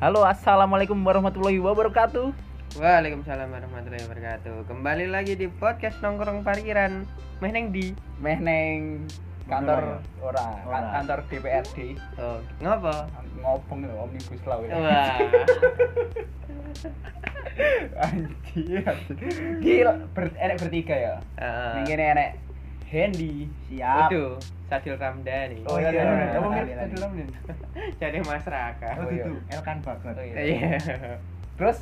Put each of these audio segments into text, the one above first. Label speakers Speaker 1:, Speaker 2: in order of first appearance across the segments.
Speaker 1: Halo, assalamualaikum warahmatullahi wabarakatuh.
Speaker 2: Waalaikumsalam warahmatullahi wabarakatuh. Kembali lagi di podcast nongkrong parkiran. Meh neng di.
Speaker 1: Meh neng kantor ora, kan-
Speaker 3: Ora.
Speaker 1: kantor DPRD
Speaker 2: Oh, ngapa?
Speaker 1: ngobong lho omnibus law ya.
Speaker 2: Wah.
Speaker 1: Anjir. Gil, ber, enek bertiga ya.
Speaker 2: Eh,
Speaker 1: Ning kene enek Hendy, siap.
Speaker 2: Itu Sadil Ramdhani.
Speaker 3: Oh iya,
Speaker 1: iya, iya.
Speaker 3: kamu
Speaker 1: Iya,
Speaker 3: mir
Speaker 1: iya,
Speaker 3: tadi
Speaker 1: iya.
Speaker 3: lamun.
Speaker 2: Jadi Mas Raka.
Speaker 3: Oh
Speaker 1: iya.
Speaker 3: gitu, Elkan banget.
Speaker 1: Oh, iya.
Speaker 2: Iya.
Speaker 1: Terus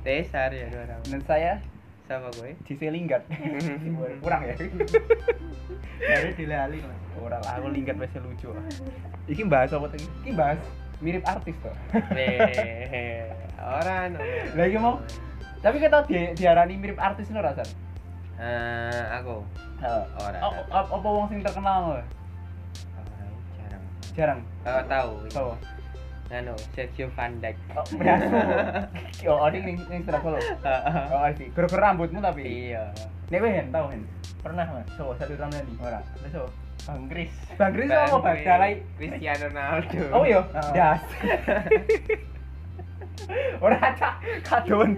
Speaker 2: Desar ya dua orang.
Speaker 1: dan saya
Speaker 2: Sama gue.
Speaker 1: JC Linggat. Kurang ya.
Speaker 3: Dari dilali Mas.
Speaker 1: Ora lah, aku Linggat wes lucu. ah. Iki bahas apa tadi? Iki bahas mirip artis toh.
Speaker 2: Eh, orang.
Speaker 1: Lah iki mau tapi kita di, diarani mirip artis ini rasanya.
Speaker 2: Eh, aku.
Speaker 1: Heeh.
Speaker 2: Ora.
Speaker 1: Oh, apa apa wong sing terkenal ngono?
Speaker 2: Orang jarang.
Speaker 1: Jarang.
Speaker 2: Kau tahu?
Speaker 1: Sopo?
Speaker 2: Anu, Sergio Van Dijk.
Speaker 1: Oh, Brasu. Yo, ori ning ning Surabaya lho. Oh, ori. Gara-gara rambutmu tapi.
Speaker 2: Iya.
Speaker 1: Nek weh hen, tau hen.
Speaker 3: Pernah Mas, coba satu tahun tadi.
Speaker 1: Ora.
Speaker 3: Terus coba Bang Kris.
Speaker 1: Bang Kris sama Bang
Speaker 2: Kris,
Speaker 1: Dalai.
Speaker 2: Cristiano Ronaldo.
Speaker 1: Oh iya,
Speaker 3: Oh.
Speaker 1: das. Ora cak kadon.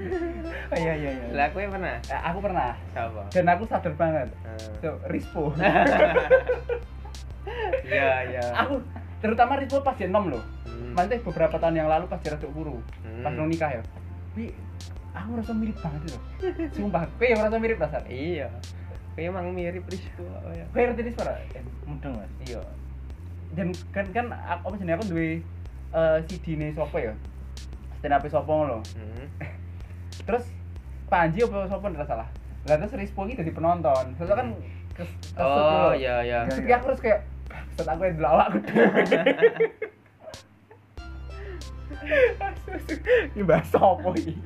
Speaker 3: Oh iya iya iya.
Speaker 2: Lah kowe pernah?
Speaker 1: Nah, aku pernah
Speaker 2: Sapa?
Speaker 1: dan aku sadar banget.
Speaker 2: Eh,
Speaker 1: So, Rispo.
Speaker 2: Iya, iya.
Speaker 1: aku terutama Rispo pas dia nom loh.
Speaker 2: Hmm.
Speaker 1: Maksudnya beberapa tahun yang lalu pas dia rada guru,
Speaker 2: Hmm.
Speaker 1: pas nong nikah ya. Wi, aku rasa mirip banget loh. Sumpah, kowe yang rasa mirip dasar.
Speaker 2: Iya. Kowe emang mirip Rizko oh ya.
Speaker 1: Kowe ngerti Rispo ora? Hen?
Speaker 3: Mudeng Mas.
Speaker 1: iya dan kan kan aku apa jenenge aku duwe eh CD ne sapa ya stand up sapa ngono lho.
Speaker 2: Hmm.
Speaker 1: terus Panji apa sapa ndak salah lah terus Rispo iki dadi penonton soalnya kan kes, kesel
Speaker 2: Oh,
Speaker 1: lho.
Speaker 2: iya, iya.
Speaker 1: Terus kayak aku terus kayak set aku yang delawak aku dhewe." ini bahas apa ini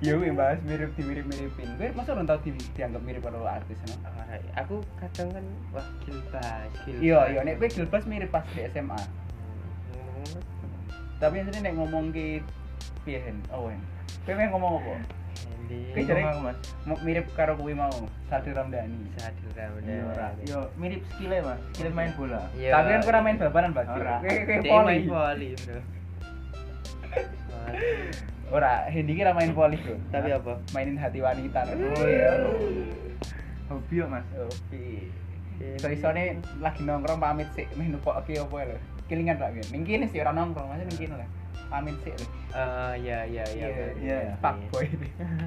Speaker 1: ya ini bahas mirip di mirip miripin gue masa orang tau di, dianggap mirip kalau artis ya? no?
Speaker 2: Ora, Aku kadang kan wah gilbas, gilbas.
Speaker 1: iya iya nek gue Gilbas mirip pas di SMA
Speaker 2: Hmm.
Speaker 1: tapi yang sini nek ngomong ke pihen Owen Oh, kowe pengen ngomong apa
Speaker 2: Jadi
Speaker 1: Kowe jarang-
Speaker 3: ngomong aku, Mas.
Speaker 1: Mau mirip karo kuwi mau Sadil Ramdhani
Speaker 2: bisa
Speaker 3: Iya, ora. Yo mirip skillnya Mas, skill main bola.
Speaker 1: tapi kan kurang main babaran Pak
Speaker 3: Ora.
Speaker 1: kowe kowe
Speaker 2: Iya. Dia
Speaker 1: poli
Speaker 2: main voli, Bro.
Speaker 1: ora Hendy ki ra main poli bro
Speaker 2: Tapi apa?
Speaker 1: mainin hati wanita
Speaker 3: Oh iya. Hobi yo Mas.
Speaker 1: oke so isone lagi nongkrong pamit sik meh nukok oke apa ya, lho kelingan rak biyen ning kene sih ora nongkrong masa ning kene lah pamit sik lho
Speaker 2: Eh, iya, iya, iya.
Speaker 1: Iya,
Speaker 2: bener.
Speaker 3: iya,
Speaker 1: pak boy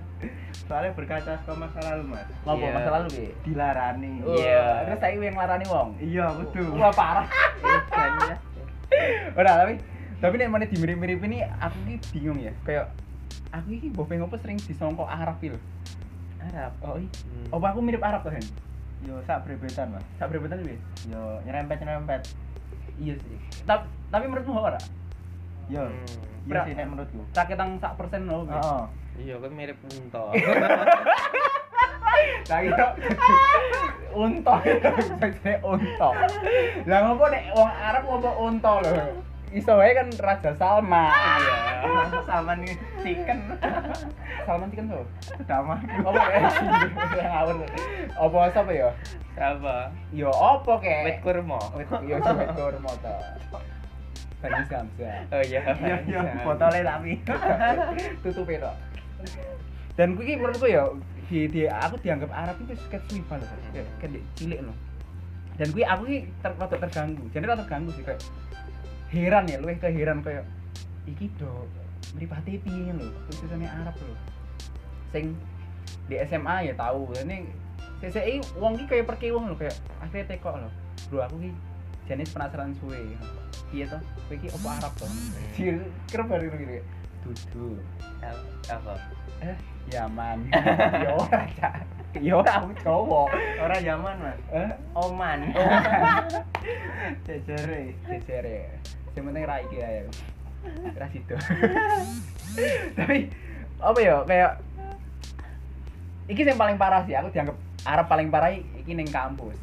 Speaker 3: Soalnya berkaca sama masa lalu Mas.
Speaker 1: ngopo
Speaker 2: Iya.
Speaker 1: masa lalu ki
Speaker 3: Dilarani.
Speaker 2: Oh. Iya.
Speaker 1: terus saiki wing larani wong
Speaker 3: Iya betul.
Speaker 1: wah parah
Speaker 2: Bukan, ya.
Speaker 1: Ora tapi tapi nek meneh dimirip-mirip ini aku ki bingung ya. Kayak aku iki bopeng apa sering disangka Arab ki lho.
Speaker 2: Arab.
Speaker 1: Oh iya.
Speaker 2: Hmm.
Speaker 1: Apa aku mirip Arab to, Hen?
Speaker 3: Yo sak brebetan Mas.
Speaker 1: Sak berebutan piye?
Speaker 3: Yo nyerempet nyerempet.
Speaker 1: Iya sih. Tapi tapi menurutmu ora?
Speaker 3: Yo.
Speaker 2: Hmm.
Speaker 3: Iya sih nek menurutku.
Speaker 1: Raketang sak persen lho.
Speaker 3: Heeh. Oh,
Speaker 2: Iya, kan mirip unta.
Speaker 1: Lah kira unta jadi unta. Lah ngopo nek wong Arab ngopo unta lho. Iso wae kan Raja Salman.
Speaker 3: Mas sama nih chicken.
Speaker 1: Salman iki kan so.
Speaker 3: Damah.
Speaker 1: Apa ya? Ngawur. Apa sapa ya?
Speaker 2: Apa?
Speaker 1: Yo opo kek?
Speaker 2: Wit kurma.
Speaker 1: Wait, yo sing wet tur moto. Bagi Samsa.
Speaker 2: Oh iya.
Speaker 3: Yo yo botolnya tapi.
Speaker 1: Tutupe tok. Dan kuwi menurutku ya di, di aku dianggap Arab itu sketch wiba loh, kayak kayak di- cilik loh. Dan kuwi aku ki ter, rada terganggu. Jadi rada terganggu sih kayak heran ya, luwih ke heran kayak iki do mripate piye lho, tulisane Arab lho. Sing di SMA ya tahu. Ini CCI wong ki kayak perki wong lho kayak akhirnya teko lho. Bro aku ki jenis penasaran suwe. Piye to? Kowe ki opo Arab to? Jir, kerep baru ngene. Dudu.
Speaker 2: Apa?
Speaker 1: Eh, Yaman. Ya ora, Cak. Ya ora aku cowok.
Speaker 3: Orang zaman Mas.
Speaker 1: Eh,
Speaker 3: Oman. Jajare.
Speaker 1: jejer ya. Yang penting ra iki ae. Ra sido. Tapi apa ya kayak iki yang paling parah sih aku dianggap Arab paling parah i- iki ning kampus.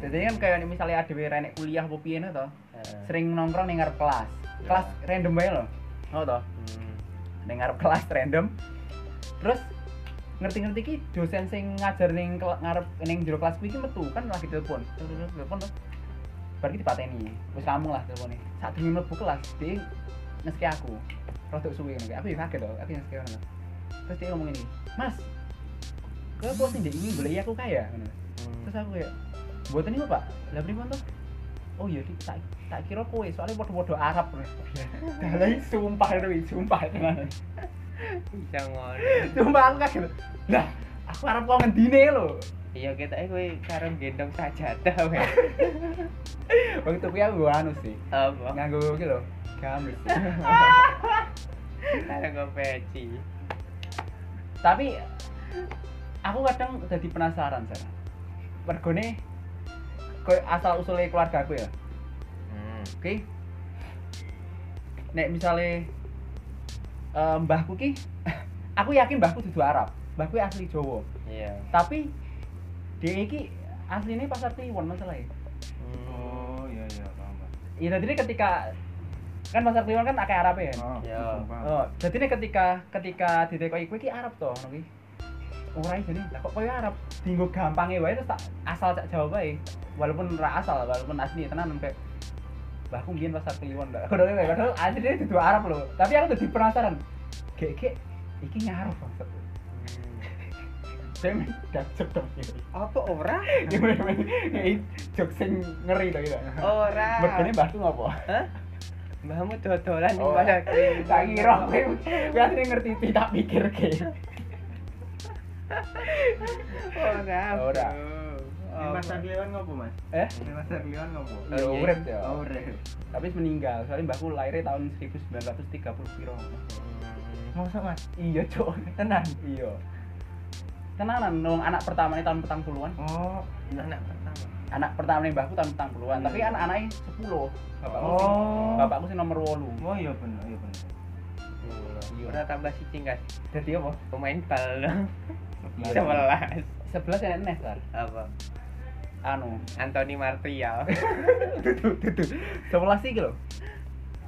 Speaker 1: Jadi kan kayak misalnya ada renek kuliah apa piye to,
Speaker 2: Eh,
Speaker 1: sering nongkrong ning ngarep kelas. Kelas random bae lho. Oh to.
Speaker 2: hmm.
Speaker 1: ning ngarep kelas random. Terus ngerti-ngerti ki dosen sing ngajar ning kel- ngarep ning jero kelas kuwi ki metu kan lagi telepon. Telepon telepon tuh. Bar ki dipateni. Wis rampung lah telepone. Sak durunge mlebu kelas, dia ngeski aku rotok suwe ngono kayak, aku ya kaget loh aku yang ngeski orang terus dia ngomong ini mas kau kok sih ini boleh aku kaya Ngono. terus aku kayak buat ini pak lah beri tuh oh iya Dik, tak tak kira kowe soalnya bodoh-bodoh Arab loh dalah sumpah itu sumpah tenan
Speaker 2: jangan
Speaker 1: sumpah aku kaget loh. lah aku Arab kok ngendine loh
Speaker 2: iya kita eh kowe karo gendong sajadah weh
Speaker 1: waktu kuwi aku anu sih
Speaker 2: apa
Speaker 1: nganggo iki lho gamis
Speaker 2: karo go peci
Speaker 1: tapi aku kadang jadi penasaran sana mergone koyo asal usulnya keluarga aku ya
Speaker 2: hmm.
Speaker 1: oke nek misalnya eh, mbahku ki aku yakin mbahku dudu Arab mbahku asli Jawa
Speaker 2: iya
Speaker 1: tapi dia iki aslinya pasar Kliwon masalahnya
Speaker 3: oh iya iya paham Pak.
Speaker 1: ya jadi ketika kan pasar Kliwon kan akeh Arab ya
Speaker 3: oh
Speaker 2: Iya.
Speaker 3: paham, paham.
Speaker 1: Oh, jadi nih ketika ketika ditekoki kowe iki Arab to ngono kuwi. Ora iki jadi lah kok koyo Arab. Dinggo gampange wae terus tak asal tak jawab wae. Walaupun ra asal, walaupun asli tenan kayak Bahku mbiyen pasar Kliwon Mbak. Kodone kayak padahal asline dudu Arab lho. Tapi aku jadi penasaran. Gek-gek iki ngarep banget. Saya main dajek dong.
Speaker 2: apa ora
Speaker 1: Ini jok sing ngeri to gitu.
Speaker 2: ora
Speaker 1: Mergone mbahku ngopo?
Speaker 2: Hah? mbahmu dodolan ning
Speaker 1: Oh.
Speaker 2: pasar Kliwon.
Speaker 1: Tak kira kowe kowe asli ngerti tidak pikir ke.
Speaker 2: ora
Speaker 1: Ora.
Speaker 3: Ya
Speaker 2: Oh,
Speaker 3: Ini pasar Kliwon ngopo mas
Speaker 1: Eh?
Speaker 3: Ini pasar Kliwon ngopo
Speaker 1: Ya urip ya.
Speaker 3: oh rep
Speaker 1: tapi wis meninggal soalnya mbakku lahirnya tahun 1930 piro
Speaker 3: masa mas
Speaker 1: iya cok
Speaker 3: tenang
Speaker 1: iya tenanan nong anak pertamanya tahun petang puluhan
Speaker 3: oh iya.
Speaker 2: anak pertama
Speaker 1: anak pertamanya mbakku tahun petang puluhan tapi anak-anaknya 10 bapakku sing-
Speaker 3: Oh.
Speaker 1: bapakku sih nomor 8
Speaker 3: oh iya bener iya bener
Speaker 1: Iya.
Speaker 2: ora tambah siji kan
Speaker 1: jadi apa?
Speaker 2: pemain bal
Speaker 3: Iya.
Speaker 2: 11
Speaker 1: 11 yang enak kan?
Speaker 2: apa
Speaker 1: anu
Speaker 2: Anthony Martial
Speaker 1: tuh tuh tuh 11 sih gitu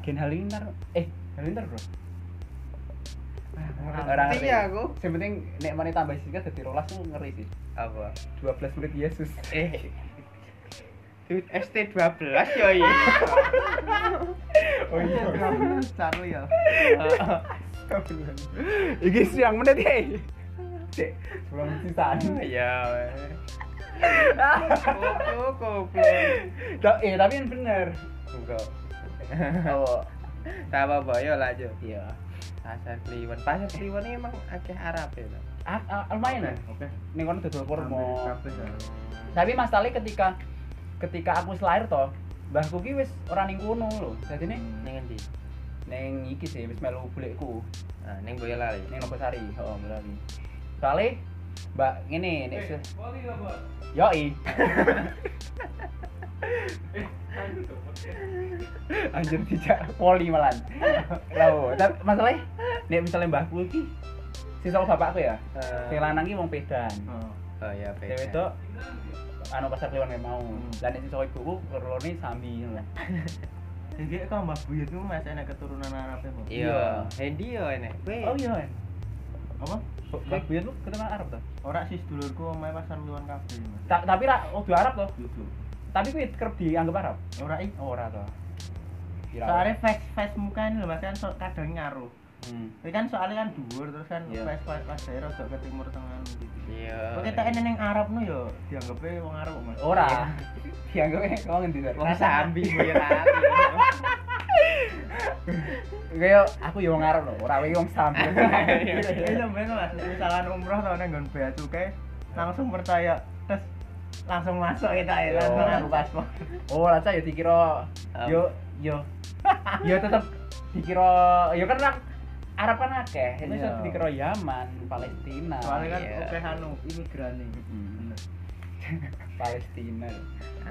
Speaker 1: Gen Halilintar eh Halilintar bro Ah, Orang
Speaker 2: ngerti aku.
Speaker 1: Yang penting nek mana tambah sih kan jadi rolas tuh ngeri sih.
Speaker 2: apa
Speaker 1: 12 menit Yesus.
Speaker 2: eh Dude, ST12 yo iya.
Speaker 1: Oh iya.
Speaker 3: Charlie ya
Speaker 1: Iki siang menit ya. Cek, belum sisaan.
Speaker 2: Ya. weh.
Speaker 3: Oh,
Speaker 2: Kok goblok.
Speaker 1: Da- eh tapi yang bener.
Speaker 2: Enggak.
Speaker 1: Oh,
Speaker 2: Tak apa-apa, yo lanjut. Iya. Pasar Kliwon. Pasar Kliwon ini emang akeh Arab ya. Dok?
Speaker 1: ah, ah, lumayan ya.
Speaker 3: Eh, oke
Speaker 1: Ning kono dodol kurma.
Speaker 3: Kabeh ya.
Speaker 1: Tapi masalahnya ketika ketika aku wis lahir toh, mbahku ki wis ora ning kono lho. Dadi ning
Speaker 2: Ning endi?
Speaker 1: ning iki sih wis melu bulikku
Speaker 2: Nah, ning Boyolali.
Speaker 1: ning Nogosari. Heeh, mulai. Soale Mbak ngene nek se- Yoi. Anjir tidak poli malan. Lho, tapi masalahnya nek misalnya mbahku iki sisa bapakku ya.
Speaker 2: Eh.
Speaker 1: Sing lanang iki wong pedan.
Speaker 3: Oh.
Speaker 2: Oh iya,
Speaker 1: Sing
Speaker 2: beda.
Speaker 1: wedok anu pasar keluar mau. Lah nek sisa ibuku loro sambi ngono.
Speaker 3: Jadi kok Mbak Buyutmu mas enak keturunan Arab ya Mbak?
Speaker 2: Iya, Hendi yo enek. Weh.
Speaker 1: Oh iya.
Speaker 3: Apa?
Speaker 1: Mbak Buyut lu ketemu Arab to?
Speaker 3: Ora sis dulurku omahe pasar luan kabeh mas.
Speaker 1: Ta- tapi ra oh dua Arab to.
Speaker 3: Duduk.
Speaker 1: Tapi kuwi kerep dianggap Arab.
Speaker 3: Ora i.
Speaker 1: Oh ora to. Kira-
Speaker 3: Soalnya face face muka ini loh mas kan so, kadang ngaruh.
Speaker 1: Hmm.
Speaker 3: Ini kan soalnya kan dhuwur terus kan
Speaker 1: Iya.
Speaker 3: face face pas daerah rada ke timur tengah gitu.
Speaker 2: Iya.
Speaker 3: Kok kita enek ning Arab no yo dianggapnya wong Arab mas.
Speaker 1: Ora. Dianggapnya kok ngendi Sar?
Speaker 2: Wong sambi ya Boyolali.
Speaker 1: Kayak aku yo wong Arab lho, ora wae wong sambil.
Speaker 3: Iya sampeyan mas nek misalkan umroh tau nang nggon bea cukai langsung percaya terus langsung masuk kita ya langsung
Speaker 1: Yo.
Speaker 3: aku paspor.
Speaker 1: Oh, rasa yo dikira yo yo yo tetep dikira yo kan orang Arab kan akeh, itu
Speaker 3: Iya.
Speaker 1: tetep dikira Yaman, Palestina.
Speaker 3: Soalnya kan
Speaker 2: Iya.
Speaker 3: oke anu imigran nih.
Speaker 1: Mm-mm. kan- Palestina.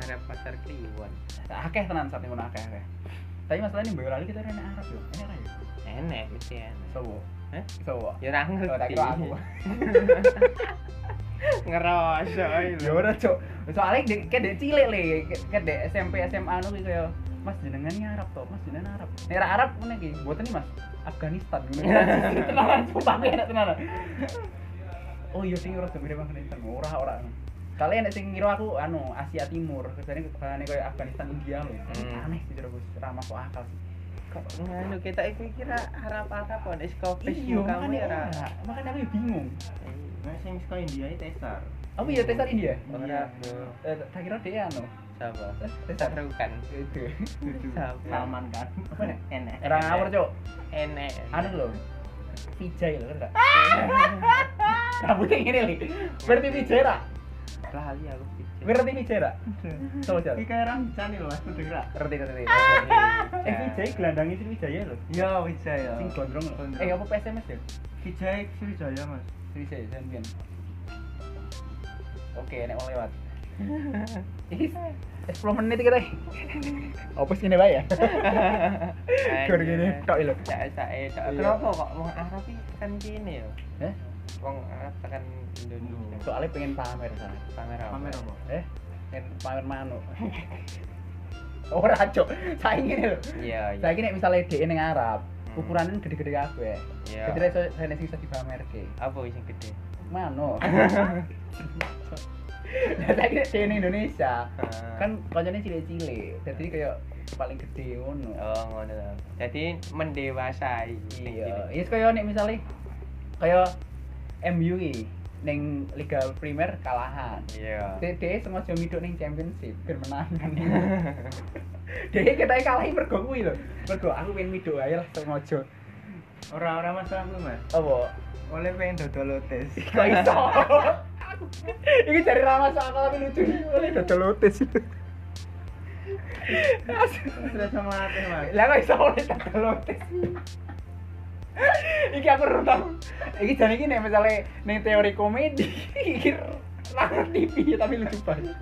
Speaker 2: Arab Pasar Kliwon.
Speaker 1: Akeh tenan saat ngono akeh akeh. Tapi masalahnya nih Boyolali kita rene Arab yo. Enak ra yo?
Speaker 2: Enek, mesti enek.
Speaker 1: Sowo.
Speaker 2: Hah?
Speaker 1: Sowo.
Speaker 2: Ya ora
Speaker 1: Oh, tak
Speaker 2: ngerti.
Speaker 1: kira aku.
Speaker 2: Ngerasa iya.
Speaker 1: Ya
Speaker 2: lho.
Speaker 1: ora, Cuk. Soale dek ke dek cilik le, ke- ke dek SMP SMA anu kuwi kaya Mas jenengan ini Arab toh, Mas jenengan Arab. Nek ra Arab ngene iki, mboten iki Mas. Afghanistan ngono. Tenanan sumpah kuwi enak tenanan. Oh iya sing ora jemire Afghanistan, ora ora. Kali enek sing ngira aku anu Asia Timur, kerjane kebahane kaya Afghanistan India lho.
Speaker 2: Hmm.
Speaker 1: Aneh sih terus, ra masuk akal sih.
Speaker 2: kok nganu kita iku kira harap-harap kok nek kopi
Speaker 1: Iya,
Speaker 2: kamu
Speaker 1: makanya
Speaker 2: ya ra.
Speaker 1: ora. Makanya aku bingung.
Speaker 3: Nah, sing saka India iki Tesar.
Speaker 1: Aku ya tesar India.
Speaker 2: Ora, Bro.
Speaker 1: Eh, tak kira dia anu.
Speaker 2: Sapa?
Speaker 1: Tesar.
Speaker 2: Serukan.
Speaker 1: Itu.
Speaker 2: Sapa?
Speaker 3: Salman kan.
Speaker 1: Apa nih?
Speaker 3: Enak.
Speaker 1: Era ngawur, Cok.
Speaker 2: Enek.
Speaker 1: Anu lho. Vijay lho, kan? Rambutnya ngene lho. Berarti Vijay ra?
Speaker 2: Lali aku pikir.
Speaker 1: Berarti Vijay ra? Coba
Speaker 3: Iki
Speaker 1: jalan.
Speaker 3: kayak orang Cani lho, Mas Budi Ra.
Speaker 1: Ngerti ngerti. Eh
Speaker 2: Eh,
Speaker 1: Vijay gelandangnya sih Wijaya lho.
Speaker 3: Ya Wijaya.
Speaker 1: Sing gondrong lho.
Speaker 3: Gondrong.
Speaker 1: Eh apa PSMS ya?
Speaker 3: Wijaya Sriwijaya, Mas.
Speaker 1: Wijaya sampean. Oke, nek mau lewat. Ih, eh, 10 menit kita. Apa sih ini bae ya? Gur gini tok lho.
Speaker 2: Sae-sae eh, tok.
Speaker 1: Iya.
Speaker 2: Kenapa kok wong Arab iki tekan kene ya?
Speaker 1: Eh,
Speaker 2: Wong Arab tekan Indonesia.
Speaker 1: soalnya pengen pamer sana.
Speaker 2: Pamer apa?
Speaker 3: Pamer apa?
Speaker 1: Eh, pengen pamer manuk. Ora cok, saiki ngene lho.
Speaker 2: Iya, iya.
Speaker 1: Saiki nek misale dhek ning Arab,
Speaker 2: Hmm.
Speaker 1: ukurannya gede-gede kabeh.
Speaker 2: Iya.
Speaker 1: Jadi iso rene sing iso dipamerke.
Speaker 2: Apa sing gede?
Speaker 1: Mano. Nah, saiki nek dhek ning Indonesia,
Speaker 2: Ah.
Speaker 1: kan kocoknya cilik-cilik. Jadi kayak paling gede ngono.
Speaker 2: Hmm. Oh, ngono to. Jadi mendewasai.
Speaker 1: Iya, iya kaya nek misale kaya MU iki E ning Liga Primer kalahan.
Speaker 2: Iya.
Speaker 1: Dede sengaja miduk ning championship ben menang kan. Dede ketahe kalahi mergo kuwi lho. Mergo aku pengen miduk ae lah sengaja.
Speaker 3: Ora-ora masalah kuwi, Mas.
Speaker 1: Apa?
Speaker 3: Oleh pengen dodol lotes.
Speaker 1: Kok iso? Iki jari ra masuk akal tapi lucu iki oleh dodol lotis.
Speaker 3: Sudah sama latih, Mas.
Speaker 1: Lah kok iso oleh dodol lotis? Iki aku ora tau. Iki jane iki nek misale ning teori komedi iki ra ngerti piye tapi lucu banget.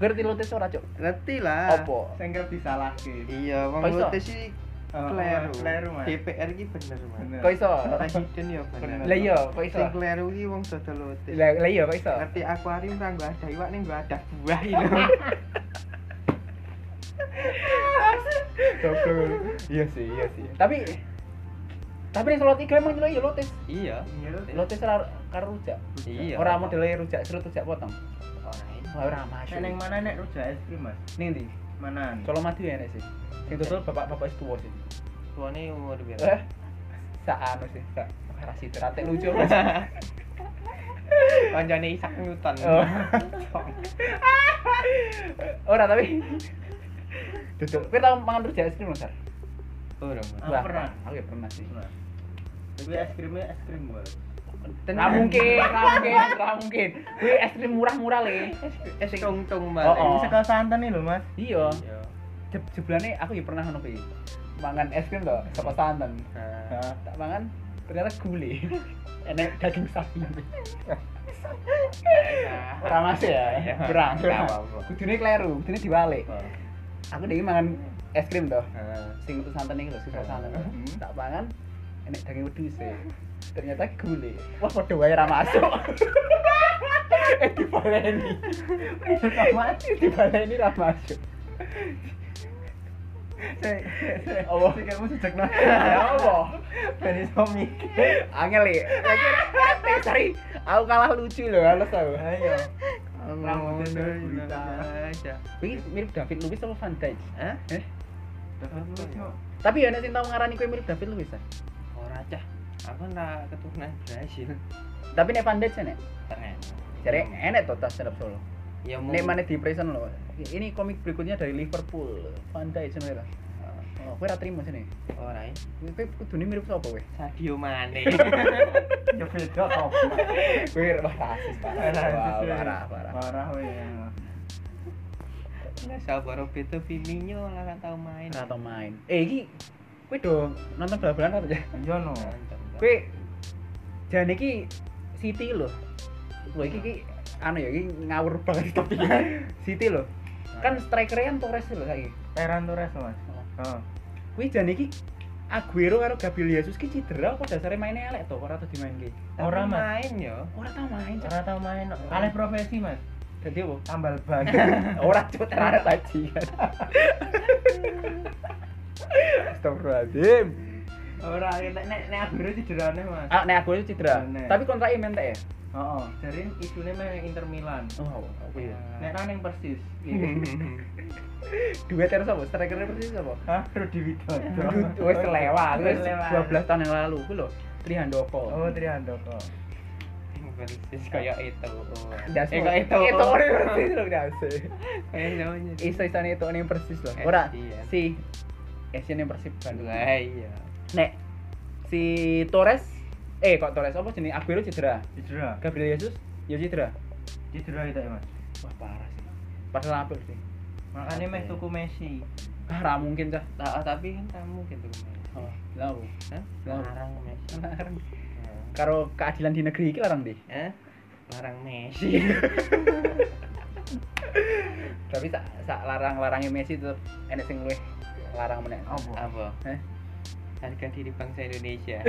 Speaker 1: Ngerti lotis ora, Cuk?
Speaker 2: Ngerti lah.
Speaker 1: Apa?
Speaker 3: Sing kerep disalahke.
Speaker 2: Iya, wong
Speaker 1: Kok iso?
Speaker 2: Lute sih
Speaker 3: Oh,
Speaker 2: kleru.
Speaker 3: kleru, Mas.
Speaker 2: DPR ki bener, Mas.
Speaker 3: Bener.
Speaker 1: Kok iso?
Speaker 2: Presiden ya bener.
Speaker 1: Lah iya, kok iso?
Speaker 2: Sing kleru ki wong dodol Lute.
Speaker 1: Lah lah iya kok iso?
Speaker 2: Ngerti akuarium ra nggo ada iwak ning nggo ada buah iki lho.
Speaker 1: Goblok. Iya sih, iya sih. Tapi tapi nek slot 3 emang ya lotis.
Speaker 2: Iya.
Speaker 3: Iya, Lute.
Speaker 1: Lotis ora karo rujak.
Speaker 2: Iya.
Speaker 1: Ora modelnya rujak serut rujak potong.
Speaker 2: Ora iso.
Speaker 1: Wah, ora masuk.
Speaker 3: Nek ning mana nek rujak es krim, Mas?
Speaker 1: Ning ndi?
Speaker 3: Manan.
Speaker 1: Kalau madu ya enak sih. Sing dodol bapak-bapak wis tuwa sih.
Speaker 2: Tuane umur
Speaker 1: Eh,
Speaker 2: piro?
Speaker 1: sak anu sih, sak rasi terate lucu.
Speaker 2: Kancane Isak Newton.
Speaker 1: Oh. Ora tapi dodol. Kowe tau mangan rujak es krim lho, Sar?
Speaker 2: Oh, dong.
Speaker 3: Aku
Speaker 1: Wah,
Speaker 3: pernah.
Speaker 1: Aku ya pernah sih.
Speaker 3: Nah. Kuwi es krimnya es krim gue.
Speaker 1: Ra mungkin, ra mungkin, ra mungkin. Kuwi es krim murah-murah le.
Speaker 2: Es tungtung
Speaker 1: Oh, oh.
Speaker 2: malah.
Speaker 3: Sekal santan nih lho, Mas.
Speaker 1: Iya.
Speaker 2: Iya.
Speaker 1: Je- Jeblane aku ya pernah ngono kuwi. Mangan es krim to, sama santan.
Speaker 2: Nah.
Speaker 3: Nah,
Speaker 1: Tak mangan ternyata gule. Enak daging sapi. Ora masuk
Speaker 2: Iya.
Speaker 1: ya. Berang.
Speaker 2: Nggak apa-apa.
Speaker 1: Kudune kleru, kudune diwalik. Aku dhewe mangan es krim to.
Speaker 2: Nah.
Speaker 1: Sing utus santan iki lho, sisa santan.
Speaker 3: Hmm.
Speaker 1: Tak mangan enek daging wedhus e. Ternyata gule. Wah, padha wae ra masuk. Eh dibaleni. Mati dibaleni ra masuk.
Speaker 3: Sik, sik, sik.
Speaker 1: Apa?
Speaker 3: Sik, kamu sejak Oh, nang.
Speaker 1: Ya Allah.
Speaker 3: Ben iso mikir.
Speaker 1: Angel ya. Lagi tes hari aku kalah lucu loh, halus aku.
Speaker 3: Ayo.
Speaker 2: Rambutnya
Speaker 3: Rambutnya
Speaker 2: dari
Speaker 3: berita.
Speaker 2: aja.
Speaker 1: Ini mirip David Luiz apa Van Dijk?
Speaker 2: Hah?
Speaker 1: Eh?
Speaker 3: Ayo.
Speaker 1: Tapi ya nek sing tau ngarani kowe mirip David Luiz ya.
Speaker 2: Ora cah. Aku ndak keturunan Brasil.
Speaker 1: Tapi nek Van Dijk ya, nek.
Speaker 2: Ternyata.
Speaker 1: Jadi enek to tas stand up solo.
Speaker 2: Ya mau.
Speaker 1: Nek mana di present loh. Ini komik berikutnya dari Liverpool. Van Dijk jenenge lah. Oh, kowe ra trimo sini.
Speaker 2: Ora ya.
Speaker 1: Kowe kowe kudune mirip sapa kowe?
Speaker 2: Sadio Mane.
Speaker 3: Ya beda apa?
Speaker 1: Kowe wah rasis parah. Wah, Parah parah.
Speaker 3: Parah weh.
Speaker 2: Nah, sabar Roberto Firmino lah kan tau main.
Speaker 1: Ora tau main. Eh iki kowe do nonton bal-balan apa ya?
Speaker 3: Iya no.
Speaker 1: kowe jan iki City lho. Lho iki iki anu ya iki ngawur banget tapi City lho. Kan striker kan Torres lho saiki.
Speaker 3: Ferran Torres Mas. Oh.
Speaker 1: Kuwi jan iki Aguero karo Gabriel Jesus ki cedera kok dasare maine elek to ora tau dimainke.
Speaker 3: Ora,
Speaker 2: Ora
Speaker 3: Mas.
Speaker 2: main yo.
Speaker 1: Ora tau main. Cok.
Speaker 3: Ora tau main. no. Kalih profesi Mas.
Speaker 1: Dadi opo?
Speaker 3: Tambal banget.
Speaker 1: Ora cuk tenar tajikan. Astagfirullahaladzim.
Speaker 3: Ora kita nek nek Aguero cederane Mas.
Speaker 1: Ah, nek aku itu cedera.
Speaker 3: Bener.
Speaker 1: Tapi kontraknya mentek ya.
Speaker 3: Heeh, jadi isune meh Inter Milan.
Speaker 1: Oh, aku ya.
Speaker 3: Nek ra ning Persis.
Speaker 1: Dua terus apa? Strikernya persis apa?
Speaker 3: Hah, Rudi Widodo.
Speaker 1: Dud- Wes lewat, wes
Speaker 3: Wis lewat.
Speaker 1: 12 tahun yang lalu ku lho. Trihandoko.
Speaker 3: Oh, Trihandoko.
Speaker 2: persis kayak itu
Speaker 1: Das
Speaker 2: eh kayak itu
Speaker 1: itu itu ini persis loh das.
Speaker 2: kayak namanya
Speaker 1: Iso isone itu ini persis loh.
Speaker 2: Eh,
Speaker 1: Ora
Speaker 2: iya.
Speaker 1: si Asian yang persib Bandung.
Speaker 2: lah iya
Speaker 1: Nek si Torres eh kok Torres apa jenis Aguero cedera.
Speaker 3: Cedera.
Speaker 1: Gabriel Jesus ya cedera.
Speaker 3: Cedera kita ya, Mas.
Speaker 1: Wah parah sih. Padahal apel sih.
Speaker 3: Makanya meh tuku Messi.
Speaker 1: Ah ra mungkin cah.
Speaker 2: Ta- tapi kan kamu gitu Messi.
Speaker 1: Oh, lah. Bu.
Speaker 2: Hah?
Speaker 1: Lah.
Speaker 2: larang Messi
Speaker 1: Larang.
Speaker 2: Nah.
Speaker 1: Karo keadilan di negeri iki larang deh.
Speaker 2: eh larang Messi
Speaker 1: Iya. Tapi sak sak larang-larangnya Messi tetep enek sing luwih larang meneh. Eh?
Speaker 3: Apa?
Speaker 2: apa
Speaker 1: Heh.
Speaker 2: harga diri bangsa Indonesia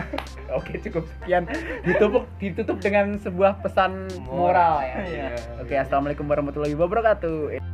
Speaker 1: Oke cukup sekian ditutup ditutup dengan sebuah pesan moral ya.
Speaker 3: Iya.
Speaker 1: Oke assalamualaikum warahmatullahi wabarakatuh.